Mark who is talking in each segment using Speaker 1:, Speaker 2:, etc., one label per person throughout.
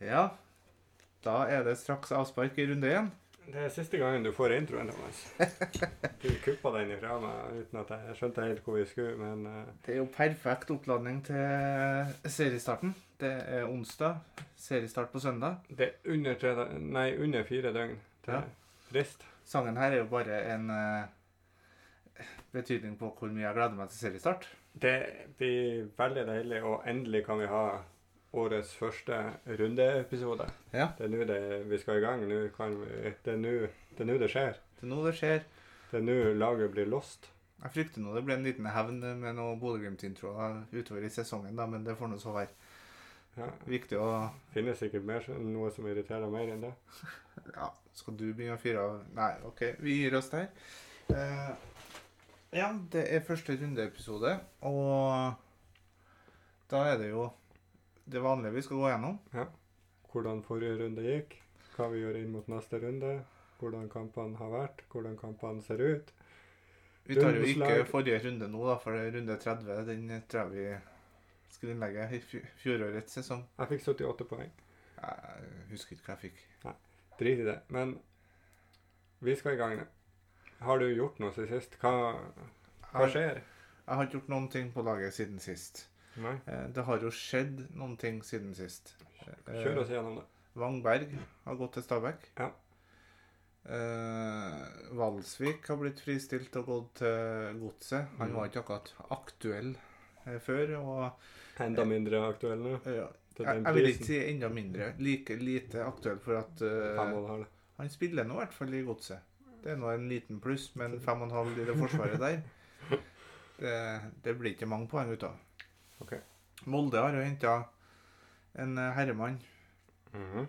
Speaker 1: Ja. Da er det straks avspark i runde én.
Speaker 2: Det er siste gangen du får introen, Thomas. Du kuppa den ifra meg uten at jeg skjønte helt hvor vi skulle, men eh,
Speaker 1: Det er jo perfekt oppladning til seriestarten. Det er onsdag. Seriestart på søndag.
Speaker 2: det er under, tre, dø- nei, under fire døgn til
Speaker 1: Ja.
Speaker 2: frist.
Speaker 1: Sangen her er jo bare en eh, betydning på hvor mye jeg gleder meg til seriestart.
Speaker 2: Det blir veldig deilig, og endelig kan vi ha årets første rundeepisode.
Speaker 1: Ja.
Speaker 2: Det er nå det- vi skal i gang. Nå kan vi, det er nå- det er nå det skjer.
Speaker 1: Det er nå det skjer.
Speaker 2: Det er nå laget blir lost.
Speaker 1: Jeg frykter nå det ble en liten hevn med noen Bodø-Glimt-introer utover i sesongen, da, men det får nå så være.
Speaker 2: Ja.
Speaker 1: Viktig å
Speaker 2: Finnes sikkert mer, noe som irriterer mer enn det.
Speaker 1: Ja, skal du begynne å fyre av Nei, OK, vi gir oss der. Eh, ja, det er første rundeepisode, og da er det jo det vanlige vi skal gå gjennom.
Speaker 2: Hvordan forrige runde gikk, hva vi gjør inn mot neste runde, hvordan kampene har vært, hvordan kampene ser ut.
Speaker 1: Vi tar jo
Speaker 2: Rundeslag.
Speaker 1: ikke forrige runde nå, da, for det er runde 30 den tror jeg vi skrinlegger i fj- fjorårets sesong.
Speaker 2: Jeg fikk 78 poeng.
Speaker 1: Jeg husker ikke hva jeg fikk.
Speaker 2: Drit i det. Men vi skal i gang nå. Har du gjort noe siden sist? Hva, hva
Speaker 1: Jeg,
Speaker 2: skjer?
Speaker 1: jeg har ikke gjort noen ting på laget siden sist.
Speaker 2: Nei.
Speaker 1: Eh, Det har jo skjedd noen ting siden sist. Eh,
Speaker 2: Kjør oss gjennom det.
Speaker 1: Wangberg har gått til Stabæk.
Speaker 2: Ja.
Speaker 1: Eh, Valsvik har blitt fristilt og gått til Godset. Han
Speaker 2: Mm.
Speaker 1: var ikke akkurat aktuell eh, før. og
Speaker 2: Enda mindre aktuell nå.
Speaker 1: eh,
Speaker 2: Til
Speaker 1: jeg,
Speaker 2: den
Speaker 1: jeg vil ikke
Speaker 2: prisen.
Speaker 1: si enda mindre. Like lite aktuell for at eh,
Speaker 2: Fem og en halv.
Speaker 1: han spiller nå i hvert fall i Godset. Det er nå en liten pluss, men fem og en halv i det forsvaret der Det, det blir ikke mange poeng ut av.
Speaker 2: Ok.
Speaker 1: Molde har jo henta en eh, herremann.
Speaker 2: Mhm.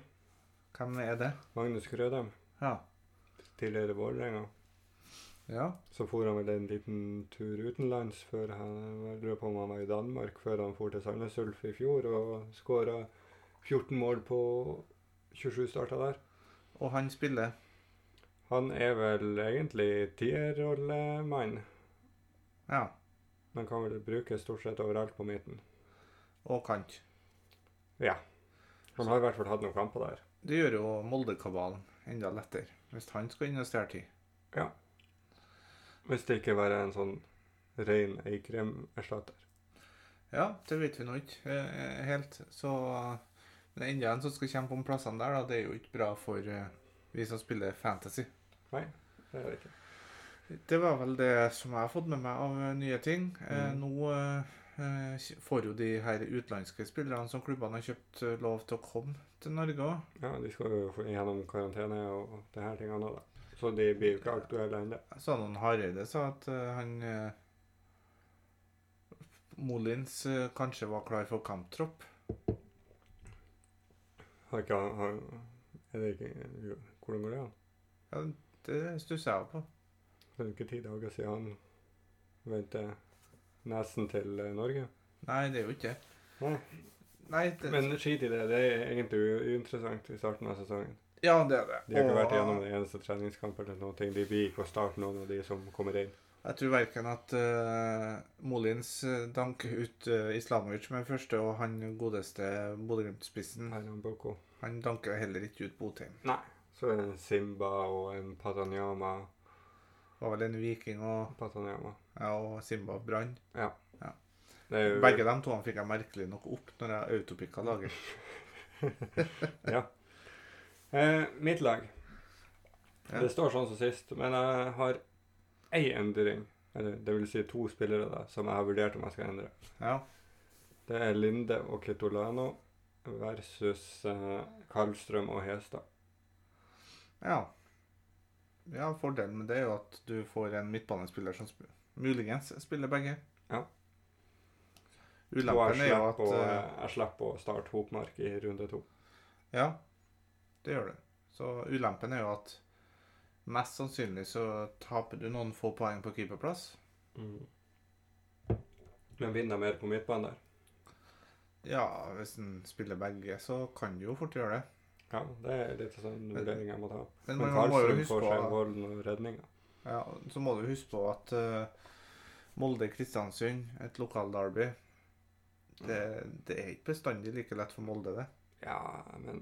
Speaker 1: Hvem er det?
Speaker 2: Magnus Krødem,
Speaker 1: Ja.
Speaker 2: tidligere Vålerenga.
Speaker 1: ja.
Speaker 2: Så for han vel en liten tur utenlands før han jeg lurer på om han var i Danmark før han for til Sandnes Ulf i fjor og skåra 14 mål på 27 starter der.
Speaker 1: Og han spiller
Speaker 2: Han er vel egentlig tierrollemann,
Speaker 1: Ja.
Speaker 2: men kan vel brukes stort sett overalt på midten.
Speaker 1: Og kant.
Speaker 2: Han har i hvert fall hatt noen kamper der.
Speaker 1: Det gjør jo Molde-kabalen enda lettere, hvis han skal inn og stjele tid.
Speaker 2: Hvis det ikke var en sånn rein Eikrem-erstatter.
Speaker 1: Ja, det vet vi nå ikke eh, helt. Så Men enda en som skal kjempe om plassene der, da, det er jo ikke bra for eh, vi som spiller fantasy.
Speaker 2: Det er det ikke.
Speaker 1: Det var vel det som jeg har fått med meg av eh, nye ting. Eh,
Speaker 2: Mm.
Speaker 1: Nå eh, eh, får jo de her utenlandske spillerne som klubbene har kjøpt, eh, lov til å komme til Norge òg.
Speaker 2: Ja, de skal jo få- gjennom karantene og det her tingene da. Så de blir jo ikke aktuelle ennå.
Speaker 1: Jeg sa noen Hareide sa at eh, han eh, Molins eh, kanskje var klar for kamptropp.
Speaker 2: Har ikke han har, Er det ikke jo, Hvordan går det an?
Speaker 1: Ja, det stusser jeg på.
Speaker 2: Det er jo ikke ti dager siden han vendte nesen til eh, Norge.
Speaker 1: Nei, det er jo ikke det.
Speaker 2: Nei.
Speaker 1: Nei, det,
Speaker 2: Men skit i det. Det er egentlig u- uinteressant i starten av sesongen.
Speaker 1: ja, det er det.
Speaker 2: De har ikke
Speaker 1: Og,
Speaker 2: vært gjennom en eneste treningskamp eller noen ting. De blir ikke å starte noen av de som kommer inn.
Speaker 1: Jeg tror verken at eh, Molins eh, danker ut uh, Islamovic med første, og han godeste Bodø-Glimt-spissen
Speaker 2: Her er han Boko.
Speaker 1: Han danker heller ikke ut Botheim.
Speaker 2: Så er det en Simba og en Patanyama.
Speaker 1: Var vel en viking og,
Speaker 2: Patanyama.
Speaker 1: ja, og Simba Brann.
Speaker 2: Det er jo
Speaker 1: Begge de to fikk jeg merkelig nok opp når jeg autopicka laget.
Speaker 2: Eh, mitt lag.
Speaker 1: Ja.
Speaker 2: Det står sånn som sist, men jeg har ei endring. Eller det vil si to spillere da, som jeg har vurdert om jeg skal endre.
Speaker 1: Ja.
Speaker 2: Det er Linde og Kitolano versus eh, Karlstrøm og Hestad.
Speaker 1: Ja. Ja, fordelen med det er jo at du får en midtbanespiller som sp muligens spiller begge.
Speaker 2: Ja. Og jeg
Speaker 1: Ulempen er jo
Speaker 2: slipper
Speaker 1: at
Speaker 2: å,
Speaker 1: eh,
Speaker 2: jeg slipper å starte Hopmark i runde to. eh,
Speaker 1: Ja, det gjør du. Så ulempen er jo at mest sannsynlig så taper du noen få poeng på keeperplass.
Speaker 2: Men vinner mer på midtbanen der.
Speaker 1: Ja, hvis en spiller begge, så kan du jo fort gjøre det.
Speaker 2: Ja, det er litt sånn vurdering jeg må ta.
Speaker 1: Men,
Speaker 2: Men
Speaker 1: man må jo
Speaker 2: Karlstrøm
Speaker 1: huske
Speaker 2: får seg
Speaker 1: på
Speaker 2: volden og redninga.
Speaker 1: ja, Så må du huske på at eh, Molde-Kristiansund, et lokalderby det, det er ikke bestandig like lett for Molde, det.
Speaker 2: Ja, men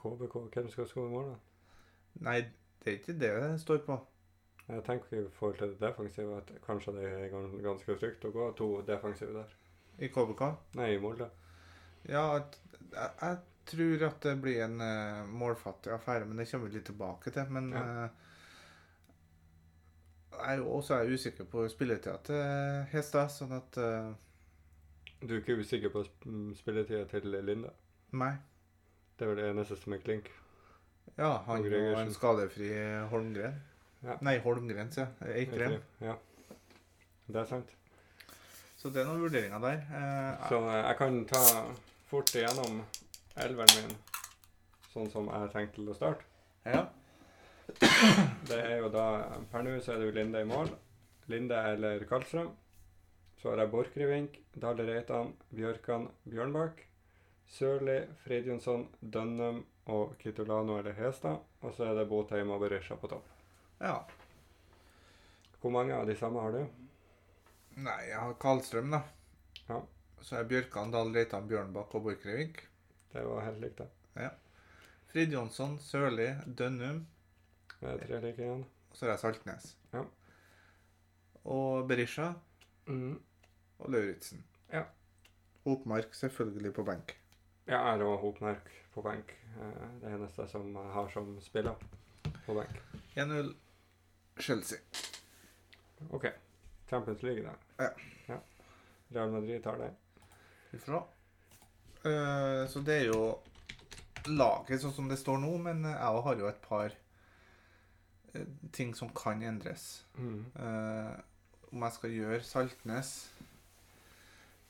Speaker 2: KBK, hvem skal skåre mål, da?
Speaker 1: Nei, det er ikke det det står på.
Speaker 2: Jeg tenker i forhold til det defensive at kanskje det er gan- ganske trygt å gå to defensive der.
Speaker 1: I KBK.
Speaker 2: Nei, i Molde.
Speaker 1: Ja, at- jeg, jeg tror at det blir en eh, målfattig affære, men det kommer vi litt tilbake til. Men
Speaker 2: Ja.
Speaker 1: eh, jeg er jo også er jeg usikker på spilletida til Hestad, sånn at eh,
Speaker 2: Du er ikke usikker på sp- mm, spilletida til Linda?
Speaker 1: Nei.
Speaker 2: Det er vel det eneste som er klink.
Speaker 1: Ja, han
Speaker 2: Og
Speaker 1: og
Speaker 2: Gregersen.
Speaker 1: en skadefri Holmgren.
Speaker 2: Ja.
Speaker 1: Nei, Holmgren, sier jeg. Eikrem.
Speaker 2: Ja. Det er sant.
Speaker 1: Så det er noen vurderinger der. Eh,
Speaker 2: Så eh, jeg kan ta fort igjennom elveren min, sånn som jeg tenkte til å starte.
Speaker 1: ja.
Speaker 2: Det er jo da Per nå så er det jo Linde i mål. Linde eller Karlstrøm. Så har jeg Borchgrevink, Dale Reitan, Bjørkan, Bjørnbakk. Sørli, Fridjonsson, Dønnum og Kitolano eller Hestad. Og så er det Botheim og Berisha på topp.
Speaker 1: ja.
Speaker 2: Hvor mange av de samme har du?
Speaker 1: Nei, jeg har Karlstrøm, da.
Speaker 2: Ja.
Speaker 1: Så er Bjørkan, Dahl Reitan, Bjørnbakk og Borchgrevink.
Speaker 2: Det var helt likt, det.
Speaker 1: Frid Jonsson, Sørli, Dønnum.
Speaker 2: Det er tre like igjen.
Speaker 1: Og så har jeg Saltnes.
Speaker 2: Ja.
Speaker 1: Og Berisha
Speaker 2: Mm.
Speaker 1: og Lauritzen.
Speaker 2: Ja.
Speaker 1: Hopmark selvfølgelig på benk.
Speaker 2: Ja, jeg har Hopmark på benk. Eh, Det eneste som jeg har som spiller på benk.
Speaker 1: 1-0 Chelsea.
Speaker 2: OK. Champions League, da.
Speaker 1: Ja.
Speaker 2: ja. Real Madrid tar det.
Speaker 1: Ifra. Eh, så det er jo laget sånn som det står nå, men jeg også har jo et par eh, ting som kan endres.
Speaker 2: Mm.
Speaker 1: Eh, om jeg skal gjøre Saltnes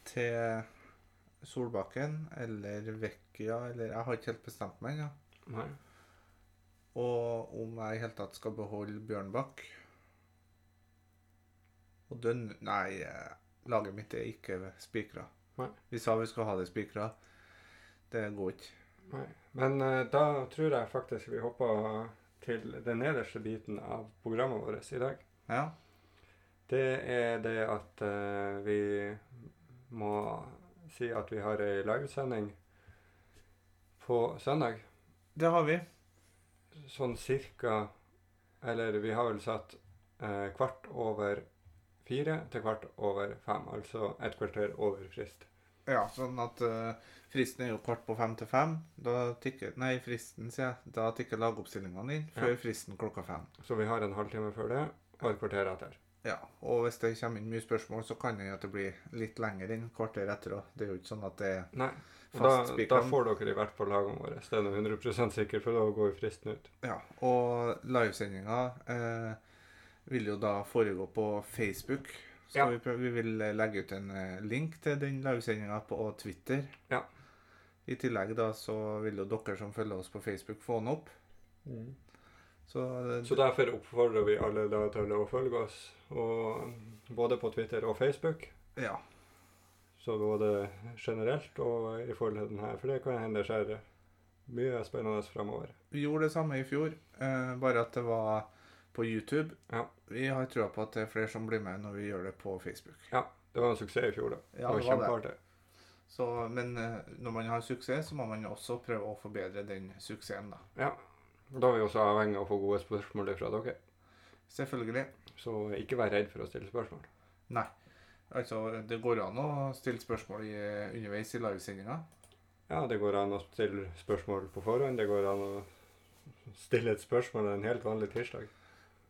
Speaker 1: til Solbakken eller Vecchia eller Jeg har ikke helt bestemt meg ennå.
Speaker 2: Nei.
Speaker 1: Og om jeg i hele tatt skal beholde Bjørnbakk. Og den Nei, eh, laget mitt er ikke spikra.
Speaker 2: Nei.
Speaker 1: Vi sa vi skulle ha det spikra. Det går ikke.
Speaker 2: Nei. Men eh, da tror jeg faktisk vi hopper til den nederste biten av programmet vårt i dag.
Speaker 1: Ja.
Speaker 2: Det er det at eh, vi må si at vi har ei livesending på søndag.
Speaker 1: Det har vi.
Speaker 2: Sånn cirka Eller vi har vel satt eh, kvart over fire til kvart over fem. Altså et kvarter over frist.
Speaker 1: Ja, sånn at eh, fristen er jo kvart på fem til fem. Da tikker Nei, fristen, sier jeg. Da tikker lagoppstillingene inn før
Speaker 2: Ja.
Speaker 1: fristen klokka fem.
Speaker 2: Så vi har en halvtime før det og et kvarter etter.
Speaker 1: Ja, og hvis det kommer inn mye spørsmål, så kan det jo at det blir litt lenger enn kvarter etter òg. Det er jo ikke sånn at det er
Speaker 2: Nei. Og
Speaker 1: fast
Speaker 2: Da, da
Speaker 1: spikra.
Speaker 2: får dere i hvert fall lagene våre. Det er noe 100 sikker, for da går jo fristen ut.
Speaker 1: Ja, og livesendinga eh, vil jo da foregå på Facebook. Så
Speaker 2: Ja.
Speaker 1: vi, prøver, vi vil eh, legge ut en eh, link til den livesendinga på Twitter.
Speaker 2: Ja.
Speaker 1: I tillegg da så vil jo dere som følger oss på Facebook, få den opp. Så, eh,
Speaker 2: Så derfor oppfordrer vi alle da til å følge oss, og, både på Twitter og Facebook.
Speaker 1: ja.
Speaker 2: Så både generelt og i forhold til den her, for det kan hende det skjer mye spennende framover.
Speaker 1: Vi gjorde det samme i fjor, eh, bare at det var på YouTube.
Speaker 2: Ja.
Speaker 1: Vi har trua på at det er flere som blir med når vi gjør det på Facebook.
Speaker 2: Det var en suksess i fjor, da.
Speaker 1: Ja,
Speaker 2: det var kjempeartig.
Speaker 1: Så, men eh, når man har suksess, så må man også prøve å forbedre den suksessen, da.
Speaker 2: Ja. Da er vi også avhengig av å få gode spørsmål fra dere,
Speaker 1: Selvfølgelig.
Speaker 2: så ikke vær redd for å stille spørsmål.
Speaker 1: Altså, det går an å stille spørsmål i, underveis i livesendinga.
Speaker 2: Ja, det går an å stille spørsmål på forhånd. Det går an å stille et spørsmål en helt vanlig tirsdag.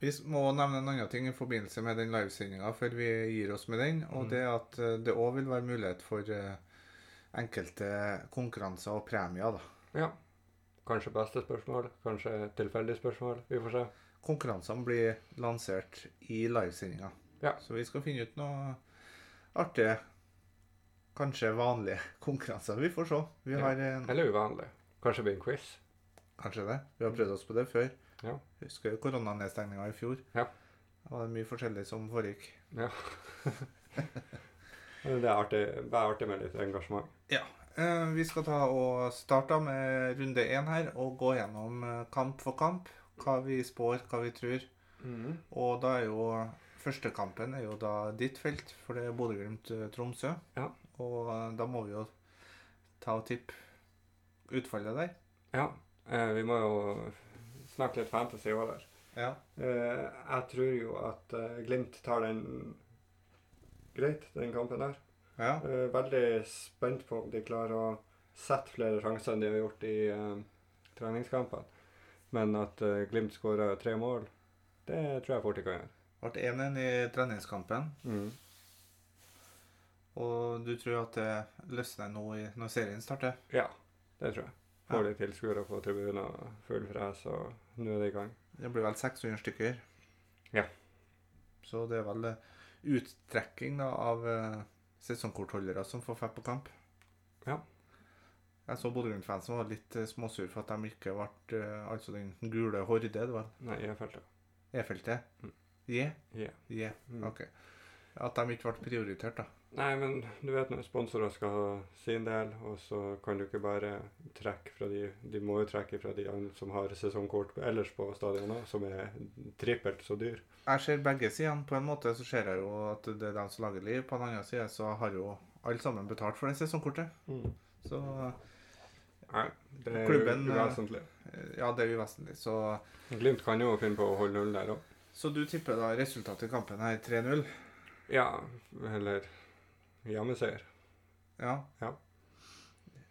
Speaker 1: Vi s- må nevne en annen ting i forbindelse med den livesendinga før vi gir oss med den, og
Speaker 2: Mm.
Speaker 1: det er at eh, det òg vil være mulighet for eh, enkelte konkurranser og premier, da.
Speaker 2: Ja. Kanskje beste spørsmål, kanskje tilfeldig spørsmål. Vi får se.
Speaker 1: Konkurransene blir lansert i livesendinga.
Speaker 2: Ja.
Speaker 1: Så vi skal finne ut noe artige, kanskje vanlige konkurranser. Vi får se. Vi
Speaker 2: Ja.
Speaker 1: har en
Speaker 2: Eller uvanlig. Kanskje det blir en quiz.
Speaker 1: Kanskje det. Vi har prøvd oss på det før.
Speaker 2: Ja.
Speaker 1: Husker jo koronanedstengninga i fjor.
Speaker 2: Ja.
Speaker 1: Det var mye forskjellig som foregikk.
Speaker 2: Men Det er artig, det er artig med litt engasjement.
Speaker 1: Eh, Vi skal ta og starte med runde én her og gå gjennom eh, kamp for kamp. Hva vi spår, hva vi tror. Og da er jo første kampen er jo da ditt felt, for det er eh, Bodø-Glimt-Tromsø.
Speaker 2: Ja.
Speaker 1: Og eh, da må vi jo ta og tippe utfallet der.
Speaker 2: Ja. Eh, vi må jo snakke litt fantasy òg der.
Speaker 1: Ja.
Speaker 2: Eh, jeg tror jo at eh, Glimt tar den greit, den kampen der.
Speaker 1: ja.
Speaker 2: Eh, veldig spent på om de klarer å sette flere sjanser enn de har gjort i eh, treningskampene. Men at eh, Glimt skårer tre mål, det tror jeg fort de kan gjøre.
Speaker 1: Ble 1-1 i treningskampen, og du tror at det løsner nå i, når serien starter?
Speaker 2: Ja, det tror jeg. Får de tilskuere på tribunen og full fres, og nå er det i gang.
Speaker 1: Det blir vel 600 stykker.
Speaker 2: Ja.
Speaker 1: Så det er vel eh, uttrekking da, av eh, sesongkortholdere som får fett på kamp.
Speaker 2: Ja.
Speaker 1: Jeg så Bodø Glimt-fansen var litt eh, småsur for at de ikke ble eh, altså den gule horde, det var
Speaker 2: Nei, jeg følte det.
Speaker 1: E-feltet.
Speaker 2: Mm.
Speaker 1: Je?
Speaker 2: Ja.
Speaker 1: Je,
Speaker 2: Mm.
Speaker 1: ok. At de ikke ble prioritert, da.
Speaker 2: Nei, men du vet når sponsorer skal ha sin del, og så kan du ikke bare trekke fra de De må jo trekke fra de andre som har sesongkort ellers på stadionet, som er trippelt så dyr.
Speaker 1: Jeg ser begge sidene. På en måte så ser jeg jo at det er dem som lager liv. På den andre siden så har jo alle sammen betalt for det sesongkortet. Så
Speaker 2: Nei, det er
Speaker 1: Klubben,
Speaker 2: u-
Speaker 1: eh,
Speaker 2: uvesentlig.
Speaker 1: eh, ja, det er uvesentlig. Så,
Speaker 2: Glimt kan jo finne på å holde null der òg.
Speaker 1: så du tipper da resultatet i kampen her 3-0?
Speaker 2: Ja, eller hjemmeseier.
Speaker 1: Ja.
Speaker 2: Ja.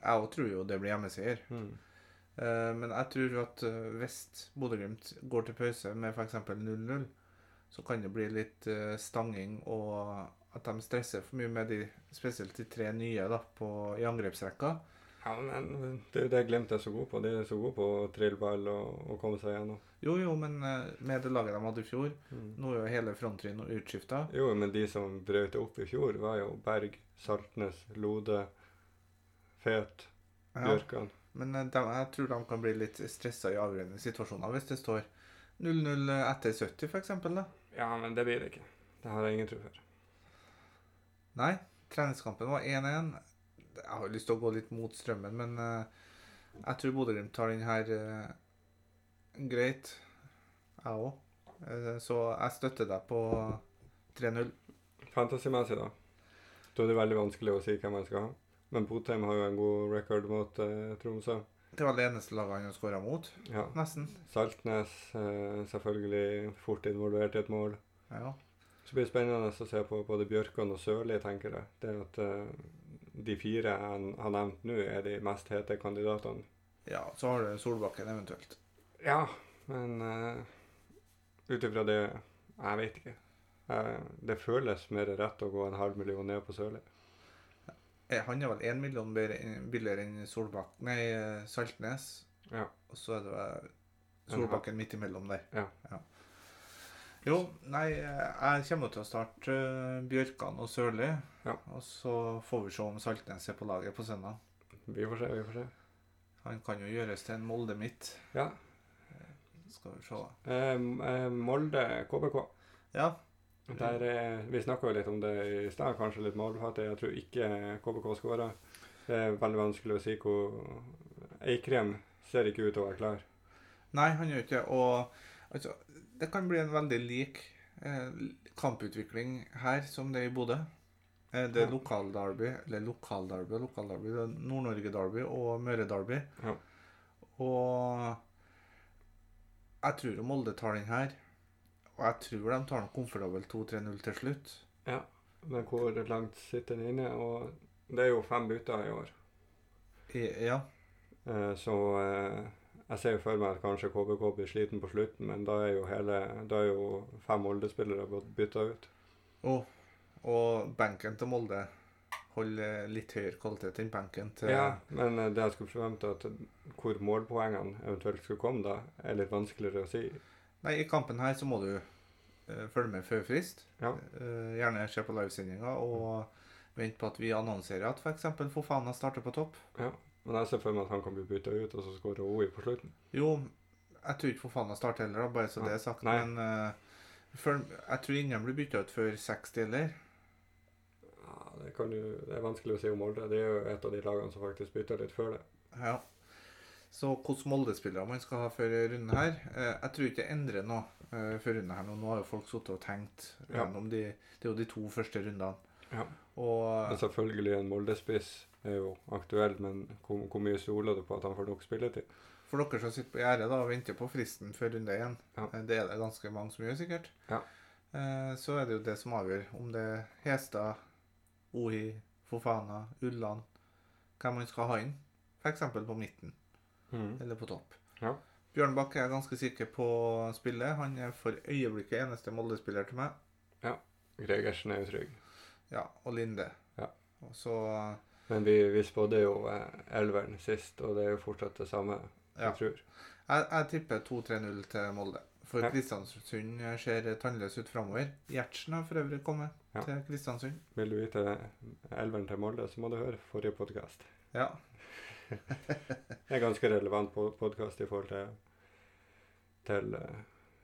Speaker 1: Jeg òg tror jo det blir hjemmeseier.
Speaker 2: Mm.
Speaker 1: Eh, Men jeg tror at eh, hvis Bodø-Glimt går til pause med f.eks. 0-0, så kan det bli litt eh, stanging og at de stresser for mye med de, spesielt de tre nye da, på, i angrepsrekka.
Speaker 2: Ja, men det er jo det Glimt er så god på. De er så gode på å trille ball og, og komme seg gjennom.
Speaker 1: Jo, jo, men eh, med det laget de hadde i fjor
Speaker 2: Mm.
Speaker 1: Nå er jo hele frontrynet utskifta.
Speaker 2: Jo, men de som brøt det opp i fjor, var jo Berg, Saltnes, Lode, Fet,
Speaker 1: Ja.
Speaker 2: Bjørkan.
Speaker 1: Men eh, de, jeg tror de kan bli litt stressa i avgjørende situasjoner hvis det står 0-0 etter 70, f.eks. da.
Speaker 2: Ja, men det blir det ikke. Det har jeg ingen tro for.
Speaker 1: Nei, treningskampen var 1-1. Jeg har lyst til å gå litt mot strømmen, men eh, jeg tror Bodø-Glimt tar den her eh, greit, jeg òg. så jeg støtter deg på 3-0.
Speaker 2: Fantasymessig, da. Da er det veldig vanskelig å si hvem man skal ha. Men Botheim har jo en god record mot eh, Tromsø.
Speaker 1: Det var det eneste laget han har skåra mot,
Speaker 2: Ja.
Speaker 1: nesten.
Speaker 2: Saltnes eh, selvfølgelig fort involvert i et mål.
Speaker 1: Ja.
Speaker 2: Så blir det spennende å se på både Bjørkan og Sørli, tenker jeg. Det at eh, de fire han har nevnt nå, er de mest hete kandidatene.
Speaker 1: ja, så har du Solbakken eventuelt.
Speaker 2: Ja, men uh, ut ifra det Jeg vet ikke. Eh, det føles mer rett å gå en halv million ned på Sørli.
Speaker 1: Eh, Han er vel én million bedre- billigere enn Solbakk, nei, eh, Saltnes.
Speaker 2: Ja.
Speaker 1: Og så er det vel
Speaker 2: En halv.
Speaker 1: Solbakken midt imellom der.
Speaker 2: Ja.
Speaker 1: Jo, nei, eh, jeg kommer til å starte eh, Bjørkan og Sørli.
Speaker 2: Ja.
Speaker 1: Og så får vi se om Saltnes er på laget på søndag.
Speaker 2: Vi får se, vi får se.
Speaker 1: Han kan jo gjøres til en Molde midt.
Speaker 2: Ja.
Speaker 1: Skal vi se.
Speaker 2: Eh, eh, Molde KBK.
Speaker 1: Ja,
Speaker 2: Der, eh, vi snakka jo litt om det i stad, kanskje litt målfattig. Jeg tror ikke KBK skåra. Det er veldig vanskelig å si hvor Eikrem ser ikke ut til å være klar.
Speaker 1: Nei, han gjør ikke det. Og altså, det kan bli en veldig lik eh, kamputvikling her som det er i Bodø. Eh, det er
Speaker 2: Ja.
Speaker 1: lokalderby, eller lokalderby, lokalderby, det er Nord-Norge-derby og Møre-derby.
Speaker 2: Ja.
Speaker 1: Og jeg tror jo Molde tar den her. Og jeg tror de tar den komfortabel 2-3-0 til slutt.
Speaker 2: Men hvor langt sitter han inne? Og det er jo fem bytter i år,
Speaker 1: I, ja.
Speaker 2: eh, så eh, jeg ser jo for meg at kanskje KBK blir sliten på slutten, men da er jo, hele, da er jo fem Molde-spillere blitt bytta ut.
Speaker 1: Og, og benken til Molde holder litt høyere kvalitet enn benken til
Speaker 2: Ja, men eh, det jeg skulle forvente, at hvor målpoengene eventuelt skulle komme da, er litt vanskeligere å si.
Speaker 1: Nei, i kampen her så må du eh, følge med før frist.
Speaker 2: Ja.
Speaker 1: Eh, gjerne se på livesendinga og vente på at vi annonserer at f.eks. Fofana starter på topp.
Speaker 2: Men jeg ser for meg at han kan bli bytta ut, og så skårer OI på slutten.
Speaker 1: Jo, jeg tror ikke Fofana starter heller, da, bare så det er sagt.
Speaker 2: Nei.
Speaker 1: Men eh, følg- jeg tror ingen blir bytta ut før 60 heller.
Speaker 2: Ja, det, kan jo, det er vanskelig å si om Molde. Det er jo et av de lagene som faktisk bytter litt før det.
Speaker 1: Ja. Så hvilke Molde-spillere man skal ha før runden her eh, Jeg tror ikke det endrer noe eh, før runden her nå. Nå har jo folk sittet og tenkt
Speaker 2: Ja.
Speaker 1: gjennom de Det er jo de to første rundene.
Speaker 2: Ja. Altså,
Speaker 1: Og eh,
Speaker 2: Men selvfølgelig en Molde-spiss er jo aktuell, men hvor, hvor mye stoler du på at han får nok spilletid?
Speaker 1: For dere som sitter på gjerdet da, og venter på fristen før runde én,
Speaker 2: Ja.
Speaker 1: eh, det er det ganske mange som gjør, sikkert,
Speaker 2: Ja.
Speaker 1: Eh, så er det jo det som avgjør om det er Hestad, Ohi, Fofana, Ulland Hvem man skal ha inn, f.eks. på midten
Speaker 2: Mm.
Speaker 1: eller på topp.
Speaker 2: Ja.
Speaker 1: Bjørnbakk er ganske sikker på spillet. Han er for øyeblikket eneste Molde-spiller til meg.
Speaker 2: Gregersen er jo trygg.
Speaker 1: Ja, og Linde.
Speaker 2: Ja.
Speaker 1: Og så
Speaker 2: Men vi, vi spådde jo eh, elveren sist, og det er jo fortsatt det samme,
Speaker 1: Ja.
Speaker 2: jeg tror.
Speaker 1: Jeg, jeg tipper 2-3-0 til Molde. For
Speaker 2: Ja.
Speaker 1: Kristiansund ser tannløs ut framover. Gjertsen har for øvrig kommet
Speaker 2: Ja.
Speaker 1: til Kristiansund.
Speaker 2: Vil du vite eh, elveren til Molde, så må du høre forrige podkast.
Speaker 1: Ja.
Speaker 2: Det er ganske relevant på podkast i forhold til, til eh,